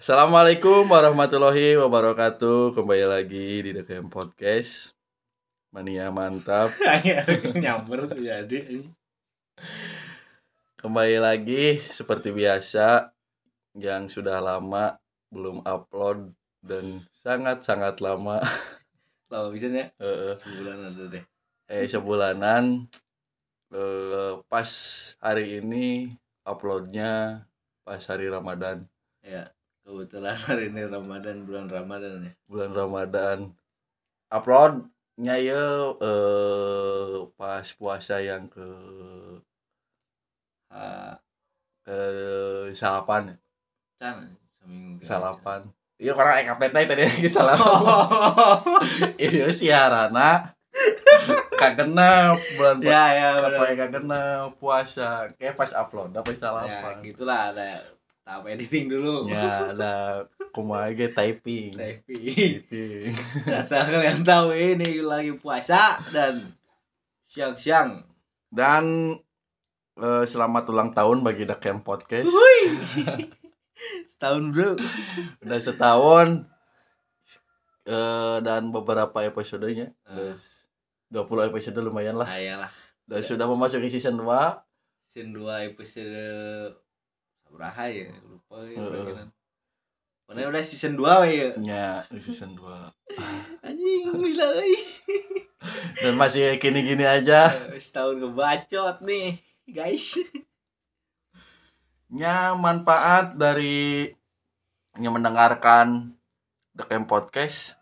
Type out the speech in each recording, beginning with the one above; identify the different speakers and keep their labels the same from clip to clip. Speaker 1: Assalamualaikum warahmatullahi wabarakatuh. Kembali lagi di The Game Podcast. Mania mantap.
Speaker 2: nyamber tuh ya, jadi
Speaker 1: Kembali lagi seperti biasa yang sudah lama belum upload dan sangat-sangat lama
Speaker 2: lama bisa ya
Speaker 1: eh,
Speaker 2: sebulan ada deh
Speaker 1: eh sebulanan eh, pas hari ini uploadnya pas hari Ramadan
Speaker 2: ya kebetulan hari ini Ramadan bulan Ramadan ya
Speaker 1: bulan Ramadan uploadnya ya eh, pas puasa yang ke
Speaker 2: Ah,
Speaker 1: ke Eh, salapan
Speaker 2: can seminggu
Speaker 1: salapan ya? iya karena EKPT tadi lagi salapan
Speaker 2: Oh.
Speaker 1: iya siarana kagena bulan puasa
Speaker 2: ya ya benar
Speaker 1: ya, kagena puasa kayak pas upload tapi
Speaker 2: ya
Speaker 1: salapan
Speaker 2: gitulah ada tahap editing dulu
Speaker 1: ya ada kumaha ge typing
Speaker 2: tapi
Speaker 1: typing
Speaker 2: asal kalian tahu ini lagi puasa dan siang-siang
Speaker 1: dan eh, selamat ulang tahun bagi The Camp Podcast
Speaker 2: Wuih. setahun bro
Speaker 1: udah setahun eh, dan beberapa episodenya
Speaker 2: Eh.
Speaker 1: Terus 20 episode lumayan lah
Speaker 2: ayalah
Speaker 1: dan sudah memasuki season 2
Speaker 2: season 2 episode berapa ya lupa ya
Speaker 1: Heeh.
Speaker 2: bagianan. Pokoknya udah season 2 we ya
Speaker 1: nya season 2
Speaker 2: anjing gila euy
Speaker 1: dan masih gini-gini aja
Speaker 2: setahun kebacot nih guys
Speaker 1: nya Ya, manfaat dari yang mendengarkan The Camp Podcast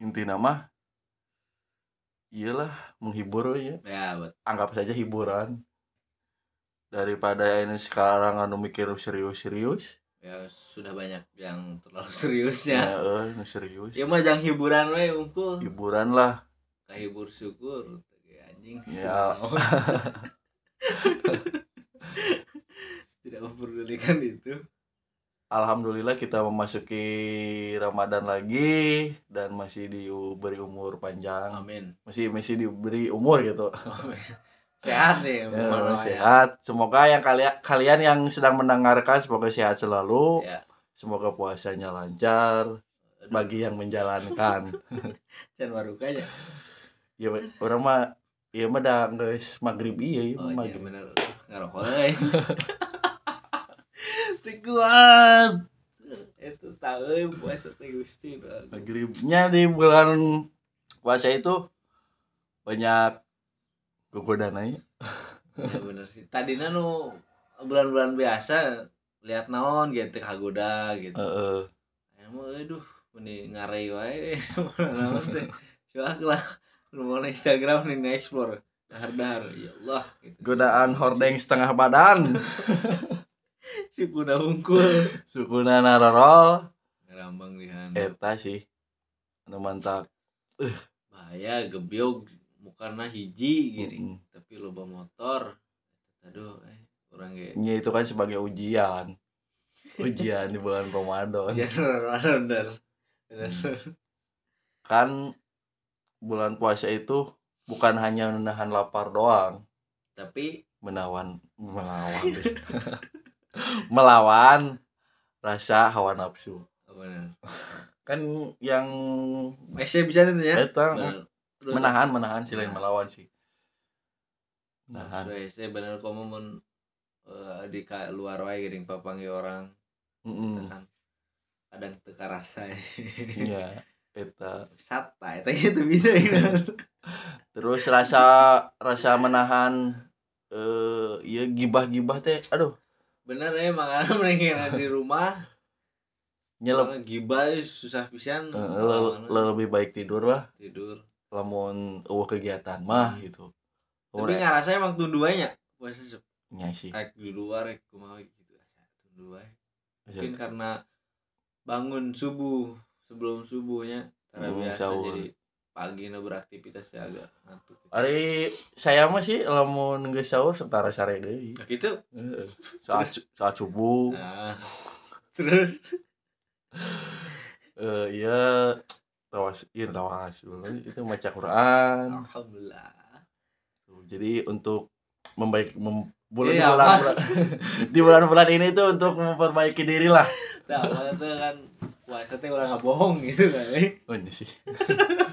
Speaker 1: inti nama iyalah menghibur ya
Speaker 2: ya buat
Speaker 1: anggap saja hiburan daripada ini sekarang anu mikir serius-serius
Speaker 2: ya sudah banyak yang terlalu
Speaker 1: ya
Speaker 2: seriusnya
Speaker 1: eh, nu serius
Speaker 2: ya mah jangan hiburan we unggul
Speaker 1: hiburan lah
Speaker 2: kahibur syukur Ya, anjing
Speaker 1: Ya.
Speaker 2: tidak memperdulikan itu
Speaker 1: alhamdulillah kita memasuki Ramadan lagi dan masih diberi umur panjang
Speaker 2: amin
Speaker 1: masih masih diberi umur gitu
Speaker 2: Amin. sehat nih
Speaker 1: Ya,
Speaker 2: mohon maaf ya.
Speaker 1: sehat. Semoga yang kalian kalian yang sedang mendengarkan semoga sehat selalu.
Speaker 2: ya
Speaker 1: Semoga puasanya lancar bagi yang menjalankan.
Speaker 2: dan warukanya
Speaker 1: ya orang mah ya mah dah geus maghrib iya ya,
Speaker 2: Oh iya
Speaker 1: maghrib.
Speaker 2: bener Ngerokok euy. Teu kuat. Itu tahu euy, puasa teh Gusti. Aduh.
Speaker 1: Maghribnya di bulan puasa itu banyak kegodaan aja.
Speaker 2: Ya bener sih. Tadinya nu bulan-bulan biasa lihat naon gitu kagoda gitu.
Speaker 1: Heeh.
Speaker 2: Emang aduh mending ngarei wae eh. naon teh. Coba lah rumah Instagram nih nge-explore dahar-dahar ya Allah gitu.
Speaker 1: Godaan hordeng setengah badan,
Speaker 2: Sukuna hungkul.
Speaker 1: sukuna narorol
Speaker 2: Ngerambang di hana.
Speaker 1: eta sih. Anu mantap.
Speaker 2: Bahaya gebyog mukana hiji gini.
Speaker 1: Mm-mm.
Speaker 2: tapi loba motor aduh eh kurang kayak
Speaker 1: Ya itu kan sebagai ujian. Ujian di bulan Ramadan.
Speaker 2: ya bener bener bener
Speaker 1: Hmm. Kan bulan puasa itu bukan hanya menahan lapar doang,
Speaker 2: tapi
Speaker 1: menawan melawan melawan rasa hawa nafsu.
Speaker 2: apa bener
Speaker 1: Kan yang
Speaker 2: masih bisa nih ya
Speaker 1: eta
Speaker 2: Bener. Terus-
Speaker 1: menahan menahan sih lain melawan sih.
Speaker 2: Nah,
Speaker 1: Menahan.
Speaker 2: so, saya bener kamu mun eh, di ka- luar wae gering papangi orang
Speaker 1: Mm-mm.
Speaker 2: tekan kadang teka rasa
Speaker 1: Hmm. Iya, eta.
Speaker 2: sata itu gitu bisa gitu.
Speaker 1: Terus rasa rasa menahan eh ya gibah-gibah teh aduh
Speaker 2: bener ya makanan mereka di rumah
Speaker 1: nyelep
Speaker 2: karena gibah susah pisan
Speaker 1: Eh, le-
Speaker 2: kemana-mana,
Speaker 1: le- lebih baik tidur lah
Speaker 2: tidur
Speaker 1: lamun eueuh kegiatan mah
Speaker 2: Hmm.
Speaker 1: gitu
Speaker 2: tapi
Speaker 1: lamun
Speaker 2: ngarasa emang tunduanya puasa sep-
Speaker 1: nya sih
Speaker 2: rek di luar rek kumaha gitu tundu wae mungkin karena bangun subuh sebelum subuhnya karena
Speaker 1: Hmm,
Speaker 2: biasa
Speaker 1: sahur.
Speaker 2: jadi pagi nu beraktivitas teh agak ngantuk
Speaker 1: Ari saya mah sih lamun geus sahur setara sare deui
Speaker 2: Nah, gitu
Speaker 1: Heeh. saat su- saat subuh
Speaker 2: nah terus
Speaker 1: eh iya tawas iya tawas itu baca Quran
Speaker 2: alhamdulillah
Speaker 1: Tuh, jadi untuk membaik mem- bulan
Speaker 2: Iya,
Speaker 1: bulan,
Speaker 2: Mas.
Speaker 1: bulan di bulan-bulan ini tuh untuk memperbaiki diri lah
Speaker 2: Nah, awalnya tuh kan puasa teh udah nggak bohong gitu kali.
Speaker 1: oh ini sih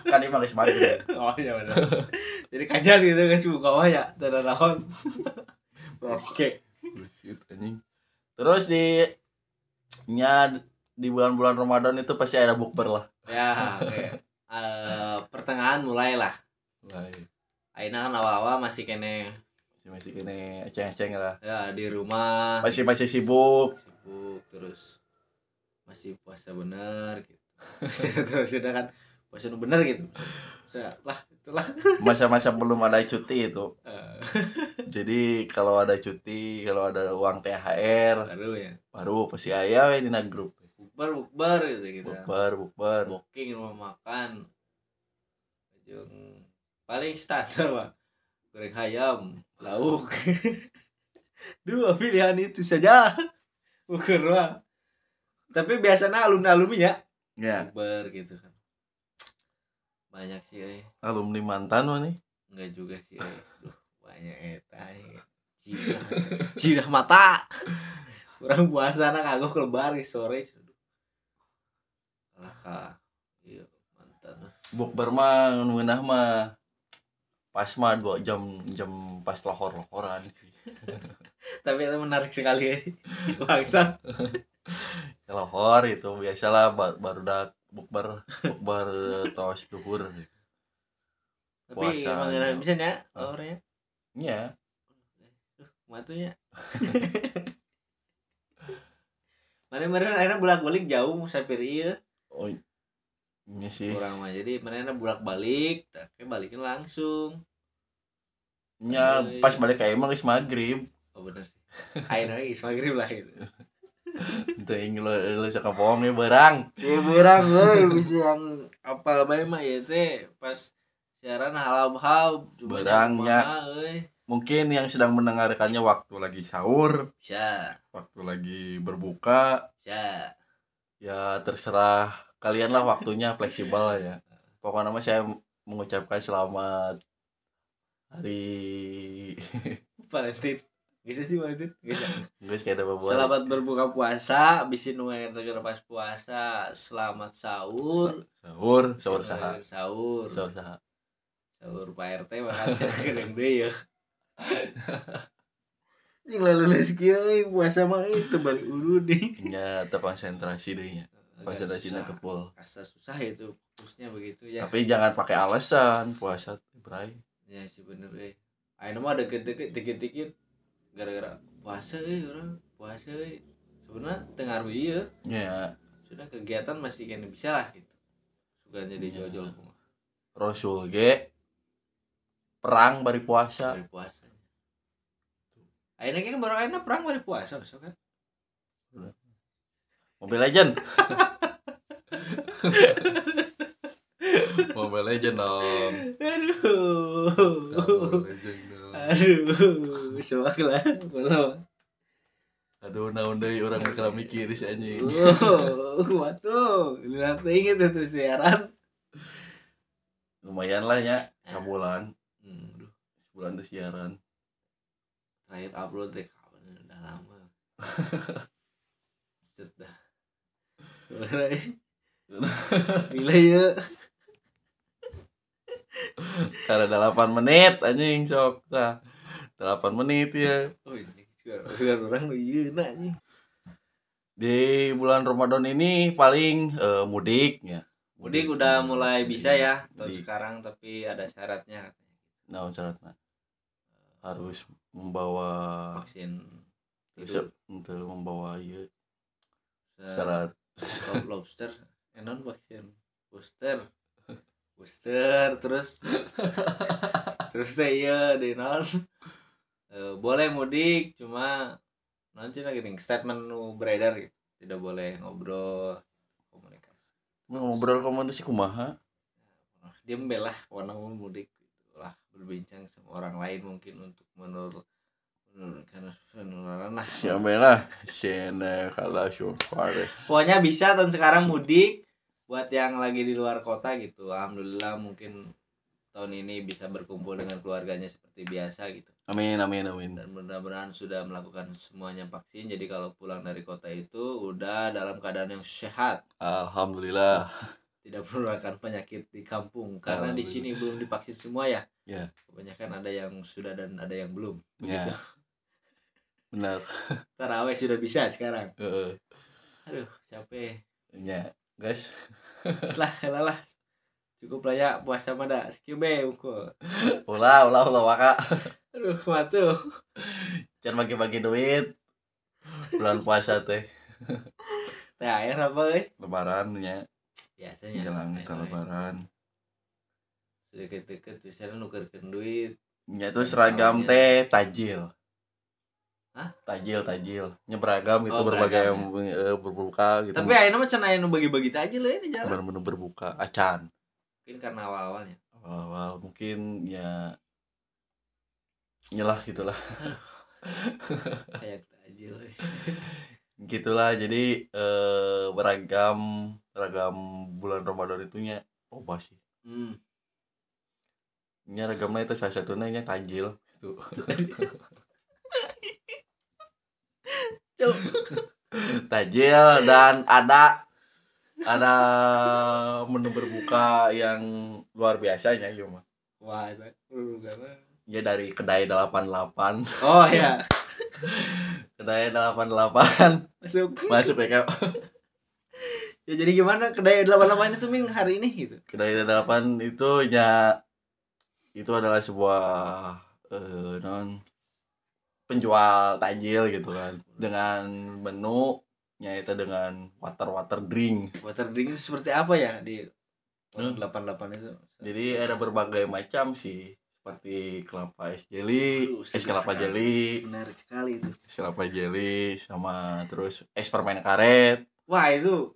Speaker 1: kan ini malis malis ya.
Speaker 2: Oh iya benar. Jadi kajat gitu kan si buka mah ya, tidak naon. Oke.
Speaker 1: Bullshit, Oh, anjing. terus di nya di bulan-bulan Ramadan itu pasti ada bukber lah
Speaker 2: Ya, oke. Eh, pertengahan mulailah. Aina kan awal-awal masih kene
Speaker 1: iya. masih masih gini eceng-eceng lah
Speaker 2: ya, di rumah
Speaker 1: masih masih sibuk
Speaker 2: sibuk terus masih puasa bener gitu. terus sudah kan puasa nu bener gitu. Sudah lah itulah.
Speaker 1: masa-masa belum ada cuti itu
Speaker 2: Eh,
Speaker 1: jadi kalau ada cuti kalau ada uang THR
Speaker 2: baru ya.
Speaker 1: baru pasti ayah we dina grup
Speaker 2: Bukber bukber gitu gitu.
Speaker 1: bukber bukber
Speaker 2: booking rumah makan yang paling standar pak goreng ayam lauk dua pilihan itu saja ukur mah tapi biasanya alumni alumni ya
Speaker 1: ya
Speaker 2: Uber gitu kan banyak sih eh.
Speaker 1: alumni mantan mah nih
Speaker 2: enggak juga sih eh. Duh, banyak eta cina cina mata kurang puasa anak aku kelebar ke sore lah kak iya mantan
Speaker 1: bukber mah ngeunah mah pas mah dua jam jam pas lohor lohoran sih
Speaker 2: tapi itu menarik sekali ya bangsa
Speaker 1: lohor itu biasalah ba- baru dak bukber bukber tos duhur
Speaker 2: tapi
Speaker 1: Puasa
Speaker 2: emang
Speaker 1: aja.
Speaker 2: enak bisa ya
Speaker 1: Ah.
Speaker 2: orangnya
Speaker 1: ya
Speaker 2: matunya mana mana akhirnya bolak balik jauh musafir iya
Speaker 1: oh iya sih
Speaker 2: kurang mah jadi mana bolak balik tapi balikin langsung
Speaker 1: nya Iya, pas balik ke emang is maghrib
Speaker 2: oh bener sih akhirnya is maghrib lah gitu.
Speaker 1: itu
Speaker 2: itu
Speaker 1: yang lo lo suka bohong ya barang
Speaker 2: ya kurang gue bisa yang apa bae mah ya teh pas siaran halal hal
Speaker 1: Barangnya. mungkin yang sedang mendengarkannya waktu lagi sahur
Speaker 2: bisa
Speaker 1: waktu lagi berbuka
Speaker 2: bisa
Speaker 1: ya terserah kalian lah waktunya fleksibel ya pokoknya mah saya mengucapkan selamat hari
Speaker 2: Valentine Bisa sih Valentine Bisa.
Speaker 1: guys kayak ada beberapa
Speaker 2: Selamat berbuka puasa Bisa nungguin negara pas puasa Selamat sahur
Speaker 1: sahur sahur saha
Speaker 2: Sahur
Speaker 1: sahur saha
Speaker 2: Sahur Pak RT bakal Kedeng deh ya Yang lalu les kiai puasa mah itu balik urut nih
Speaker 1: nya terkonsentrasi Iya, deh iya. nya konsentrasinya
Speaker 2: Agak susah.
Speaker 1: tepul
Speaker 2: Kasar susah itu fokusnya begitu ya
Speaker 1: tapi jangan pakai alasan puasa bray
Speaker 2: Ya sih bener eh Ayo mah deket-deket dikit-dikit Gara-gara puasa eh orang Puasa eh Sebenernya tengah iya
Speaker 1: ya
Speaker 2: sudah kegiatan masih kayaknya bisa lah gitu suka jadi
Speaker 1: Iya.
Speaker 2: jojol rumah
Speaker 1: Rasul ge perang bari puasa
Speaker 2: dari puasa akhirnya kan baru akhirnya perang dari puasa so kan
Speaker 1: Mobile Legend. Mobile Legend dong.
Speaker 2: aduh
Speaker 1: Mobile Legend dong.
Speaker 2: aduh coba lah belum
Speaker 1: Aduh, naon deui urang bakal mikir si anjing.
Speaker 2: oh kuat tuh lihat inget itu siaran
Speaker 1: Lumayan lah ya, sebulan.
Speaker 2: hmm, aduh.
Speaker 1: Sebulan tuh siaran.
Speaker 2: terakhir upload deh kapan udah lama sudah Bila ya
Speaker 1: Karena 8 menit anjing sok. Nah, 8 menit ya.
Speaker 2: Oh ini juga orang iya nak nih
Speaker 1: Di bulan Ramadan ini paling eh, mudik ya.
Speaker 2: Mudik udah mulai bisa ya tahun
Speaker 1: Mudik.
Speaker 2: sekarang tapi ada syaratnya katanya.
Speaker 1: Nah, syaratnya harus membawa
Speaker 2: Vaksin
Speaker 1: Bisa
Speaker 2: hidup
Speaker 1: untuk membawa iya,
Speaker 2: secara
Speaker 1: syarat
Speaker 2: top lobster Eh, enon vaksin booster booster terus terus teh iya di non Eh, boleh mudik cuma nanti lagi nih statement nu beredar gitu tidak boleh ngobrol komunikasi
Speaker 1: ngobrol komunikasi kumaha
Speaker 2: dia membela orang mudik gitu lah berbincang sama orang lain mungkin untuk menurut menurunkan penularan lah
Speaker 1: siapa lah sene kalah syukur
Speaker 2: pokoknya bisa tahun sekarang mudik buat yang lagi di luar kota gitu alhamdulillah mungkin tahun ini bisa berkumpul dengan keluarganya seperti biasa gitu
Speaker 1: Amin amin amin.
Speaker 2: dan mudah-mudahan sudah melakukan semuanya vaksin jadi kalau pulang dari kota itu udah dalam keadaan yang sehat
Speaker 1: Alhamdulillah.
Speaker 2: tidak menularkan penyakit di kampung karena di sini belum divaksin semua ya
Speaker 1: Ya.
Speaker 2: kebanyakan ada yang sudah dan ada yang belum
Speaker 1: Ya. Benar.
Speaker 2: taraweh sudah bisa sekarang
Speaker 1: Heeh.
Speaker 2: aduh capek
Speaker 1: Ya, guys.
Speaker 2: setelah lelah cukup lah ya puasa mah dah sekibe ukur
Speaker 1: Ulah ulah ulah waka.
Speaker 2: aduh matuh
Speaker 1: Jangan bagi-bagi duit. Bulan puasa teh.
Speaker 2: thr apa euy?
Speaker 1: Lebarannya
Speaker 2: biasanya
Speaker 1: jelang ya. ke
Speaker 2: lain-lain.
Speaker 1: lebaran.
Speaker 2: sudah deket-deket biasanya nukerkeun duit
Speaker 1: Ya
Speaker 2: Iya,
Speaker 1: itu seragam teh tajil.
Speaker 2: Hah?
Speaker 1: Tajil, tajil. Nya beragam gitu
Speaker 2: Oh,
Speaker 1: berbagai
Speaker 2: beragam,
Speaker 1: eh, berbuka gitu.
Speaker 2: tapi akhirnya mah cenah nu bagi-bagi teh aja lah ya di jalan
Speaker 1: menu berbuka acan.
Speaker 2: mungkin karena awal-awalnya
Speaker 1: awal-awal mungkin ya nyelah gitulah
Speaker 2: kayak teh aja lah
Speaker 1: gitulah jadi eh, beragam beragam bulan Ramadan itunya oh pasti
Speaker 2: hmm.
Speaker 1: nya ragamnya itu salah satunya nya tajil gitu.
Speaker 2: Cuk.
Speaker 1: tajil dan ada ada menu berbuka yang luar biasanya ya mah
Speaker 2: wah itu uh, karena
Speaker 1: ya dari kedai 88
Speaker 2: oh ya
Speaker 1: kedai 88
Speaker 2: masuk
Speaker 1: masuk ya Kak.
Speaker 2: ya jadi gimana kedai delapan delapan itu ming hari ini gitu
Speaker 1: Kedai delapan itu ya itu adalah sebuah eh, non penjual tajil gitu kan dengan menu yaitu dengan water water drink
Speaker 2: water drink itu seperti apa ya di
Speaker 1: Hmm.
Speaker 2: delapan delapan itu
Speaker 1: jadi ada berbagai macam sih seperti kelapa es jelly
Speaker 2: Aduh,
Speaker 1: es
Speaker 2: sedih
Speaker 1: kelapa
Speaker 2: sekali.
Speaker 1: jelly
Speaker 2: menarik sekali itu
Speaker 1: es kelapa jelly sama terus es permen karet
Speaker 2: wah itu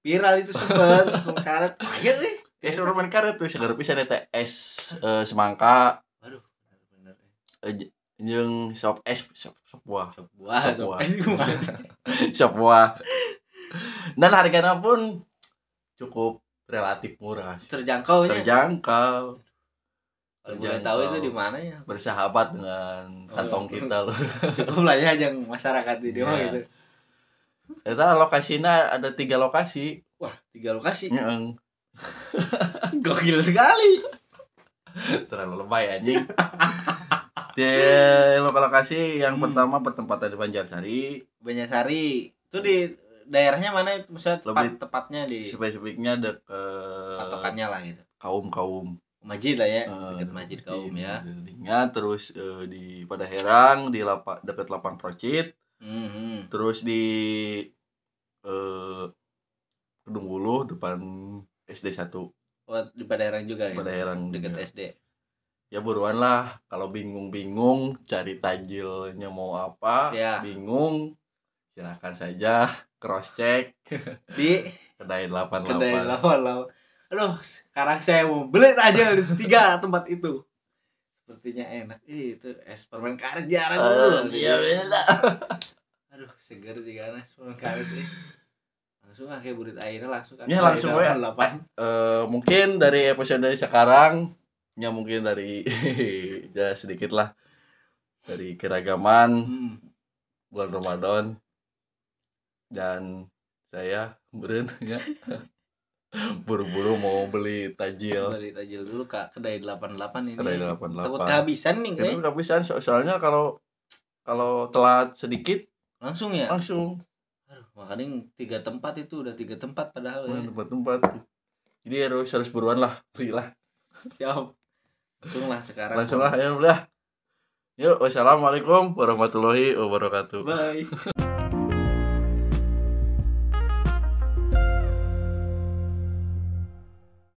Speaker 2: viral itu sempet karet ayo eh
Speaker 1: es permen karet tuh segar pisan eta es eh, semangka
Speaker 2: aduh bener
Speaker 1: eh.
Speaker 2: bener
Speaker 1: jeung sop es sop, sop buah
Speaker 2: Sop buah
Speaker 1: Sop
Speaker 2: sop
Speaker 1: buah.
Speaker 2: es buah
Speaker 1: shop buah dan harganya pun cukup relatif murah sih.
Speaker 2: terjangkau nya
Speaker 1: terjangkau iya.
Speaker 2: Kalau boleh tahu
Speaker 1: terjangkau.
Speaker 2: itu di mana ya
Speaker 1: bersahabat dengan kantong
Speaker 2: Oh.
Speaker 1: kita loh
Speaker 2: cukup lah ya yang masyarakat di dia mah
Speaker 1: Iya.
Speaker 2: gitu
Speaker 1: kita lokasinya ada tiga lokasi
Speaker 2: wah tiga lokasi
Speaker 1: Nyeeng.
Speaker 2: gokil sekali
Speaker 1: terlalu lebay anjing di lokasi yang
Speaker 2: Hmm.
Speaker 1: pertama pertempatan di Banjarsari
Speaker 2: Banyasari itu di daerahnya mana itu maksudnya tepat
Speaker 1: Lebih-
Speaker 2: tepatnya di
Speaker 1: spesifiknya dekat
Speaker 2: patokannya lah gitu
Speaker 1: kaum kaum
Speaker 2: masjid lah ya
Speaker 1: Eh,
Speaker 2: dekat masjid kaum ya
Speaker 1: Dindingnya, terus eh, di pada herang di lapa, dekat lapang procit
Speaker 2: Hmm, hmm.
Speaker 1: terus di eh Kedung Wuluh depan SD 1
Speaker 2: oh di Padaerang juga gitu
Speaker 1: Padaerang
Speaker 2: dekat
Speaker 1: juga.
Speaker 2: SD
Speaker 1: ya buruan lah kalau bingung-bingung cari tajilnya mau apa
Speaker 2: Ya.
Speaker 1: bingung silakan saja cross check
Speaker 2: di
Speaker 1: kedai
Speaker 2: kedai
Speaker 1: 88
Speaker 2: lawan lawan aduh sekarang saya mau beli aja di tiga tempat itu sepertinya enak Ih, itu es permen karet jarang
Speaker 1: Eh,
Speaker 2: tuh.
Speaker 1: iya, iya.
Speaker 2: aduh segar juga nah es permen karet nih langsung ah kayak burit airnya langsung kan
Speaker 1: Ya, langsung
Speaker 2: Kedai
Speaker 1: ya.
Speaker 2: delapan.
Speaker 1: Eh, mungkin dari episode sekarang ya mungkin dari ya sedikit lah dari keragaman
Speaker 2: Hmm.
Speaker 1: bulan Ramadan dan saya beren ya buru-buru mau beli tajil
Speaker 2: beli tajil dulu kak kedai 88 ini
Speaker 1: Iya. kedai
Speaker 2: takut
Speaker 1: 88
Speaker 2: kehabisan nih
Speaker 1: itu
Speaker 2: eh.
Speaker 1: udah bisa so- soalnya kalau kalau telat sedikit
Speaker 2: langsung ya
Speaker 1: langsung
Speaker 2: Aduh, makanya tiga tempat itu udah tiga tempat padahal ya.
Speaker 1: tempat-tempat jadi harus harus buruan lah belilah
Speaker 2: siap langsung lah sekarang
Speaker 1: langsung lah ya udah yuk wassalamualaikum warahmatullahi wabarakatuh
Speaker 2: bye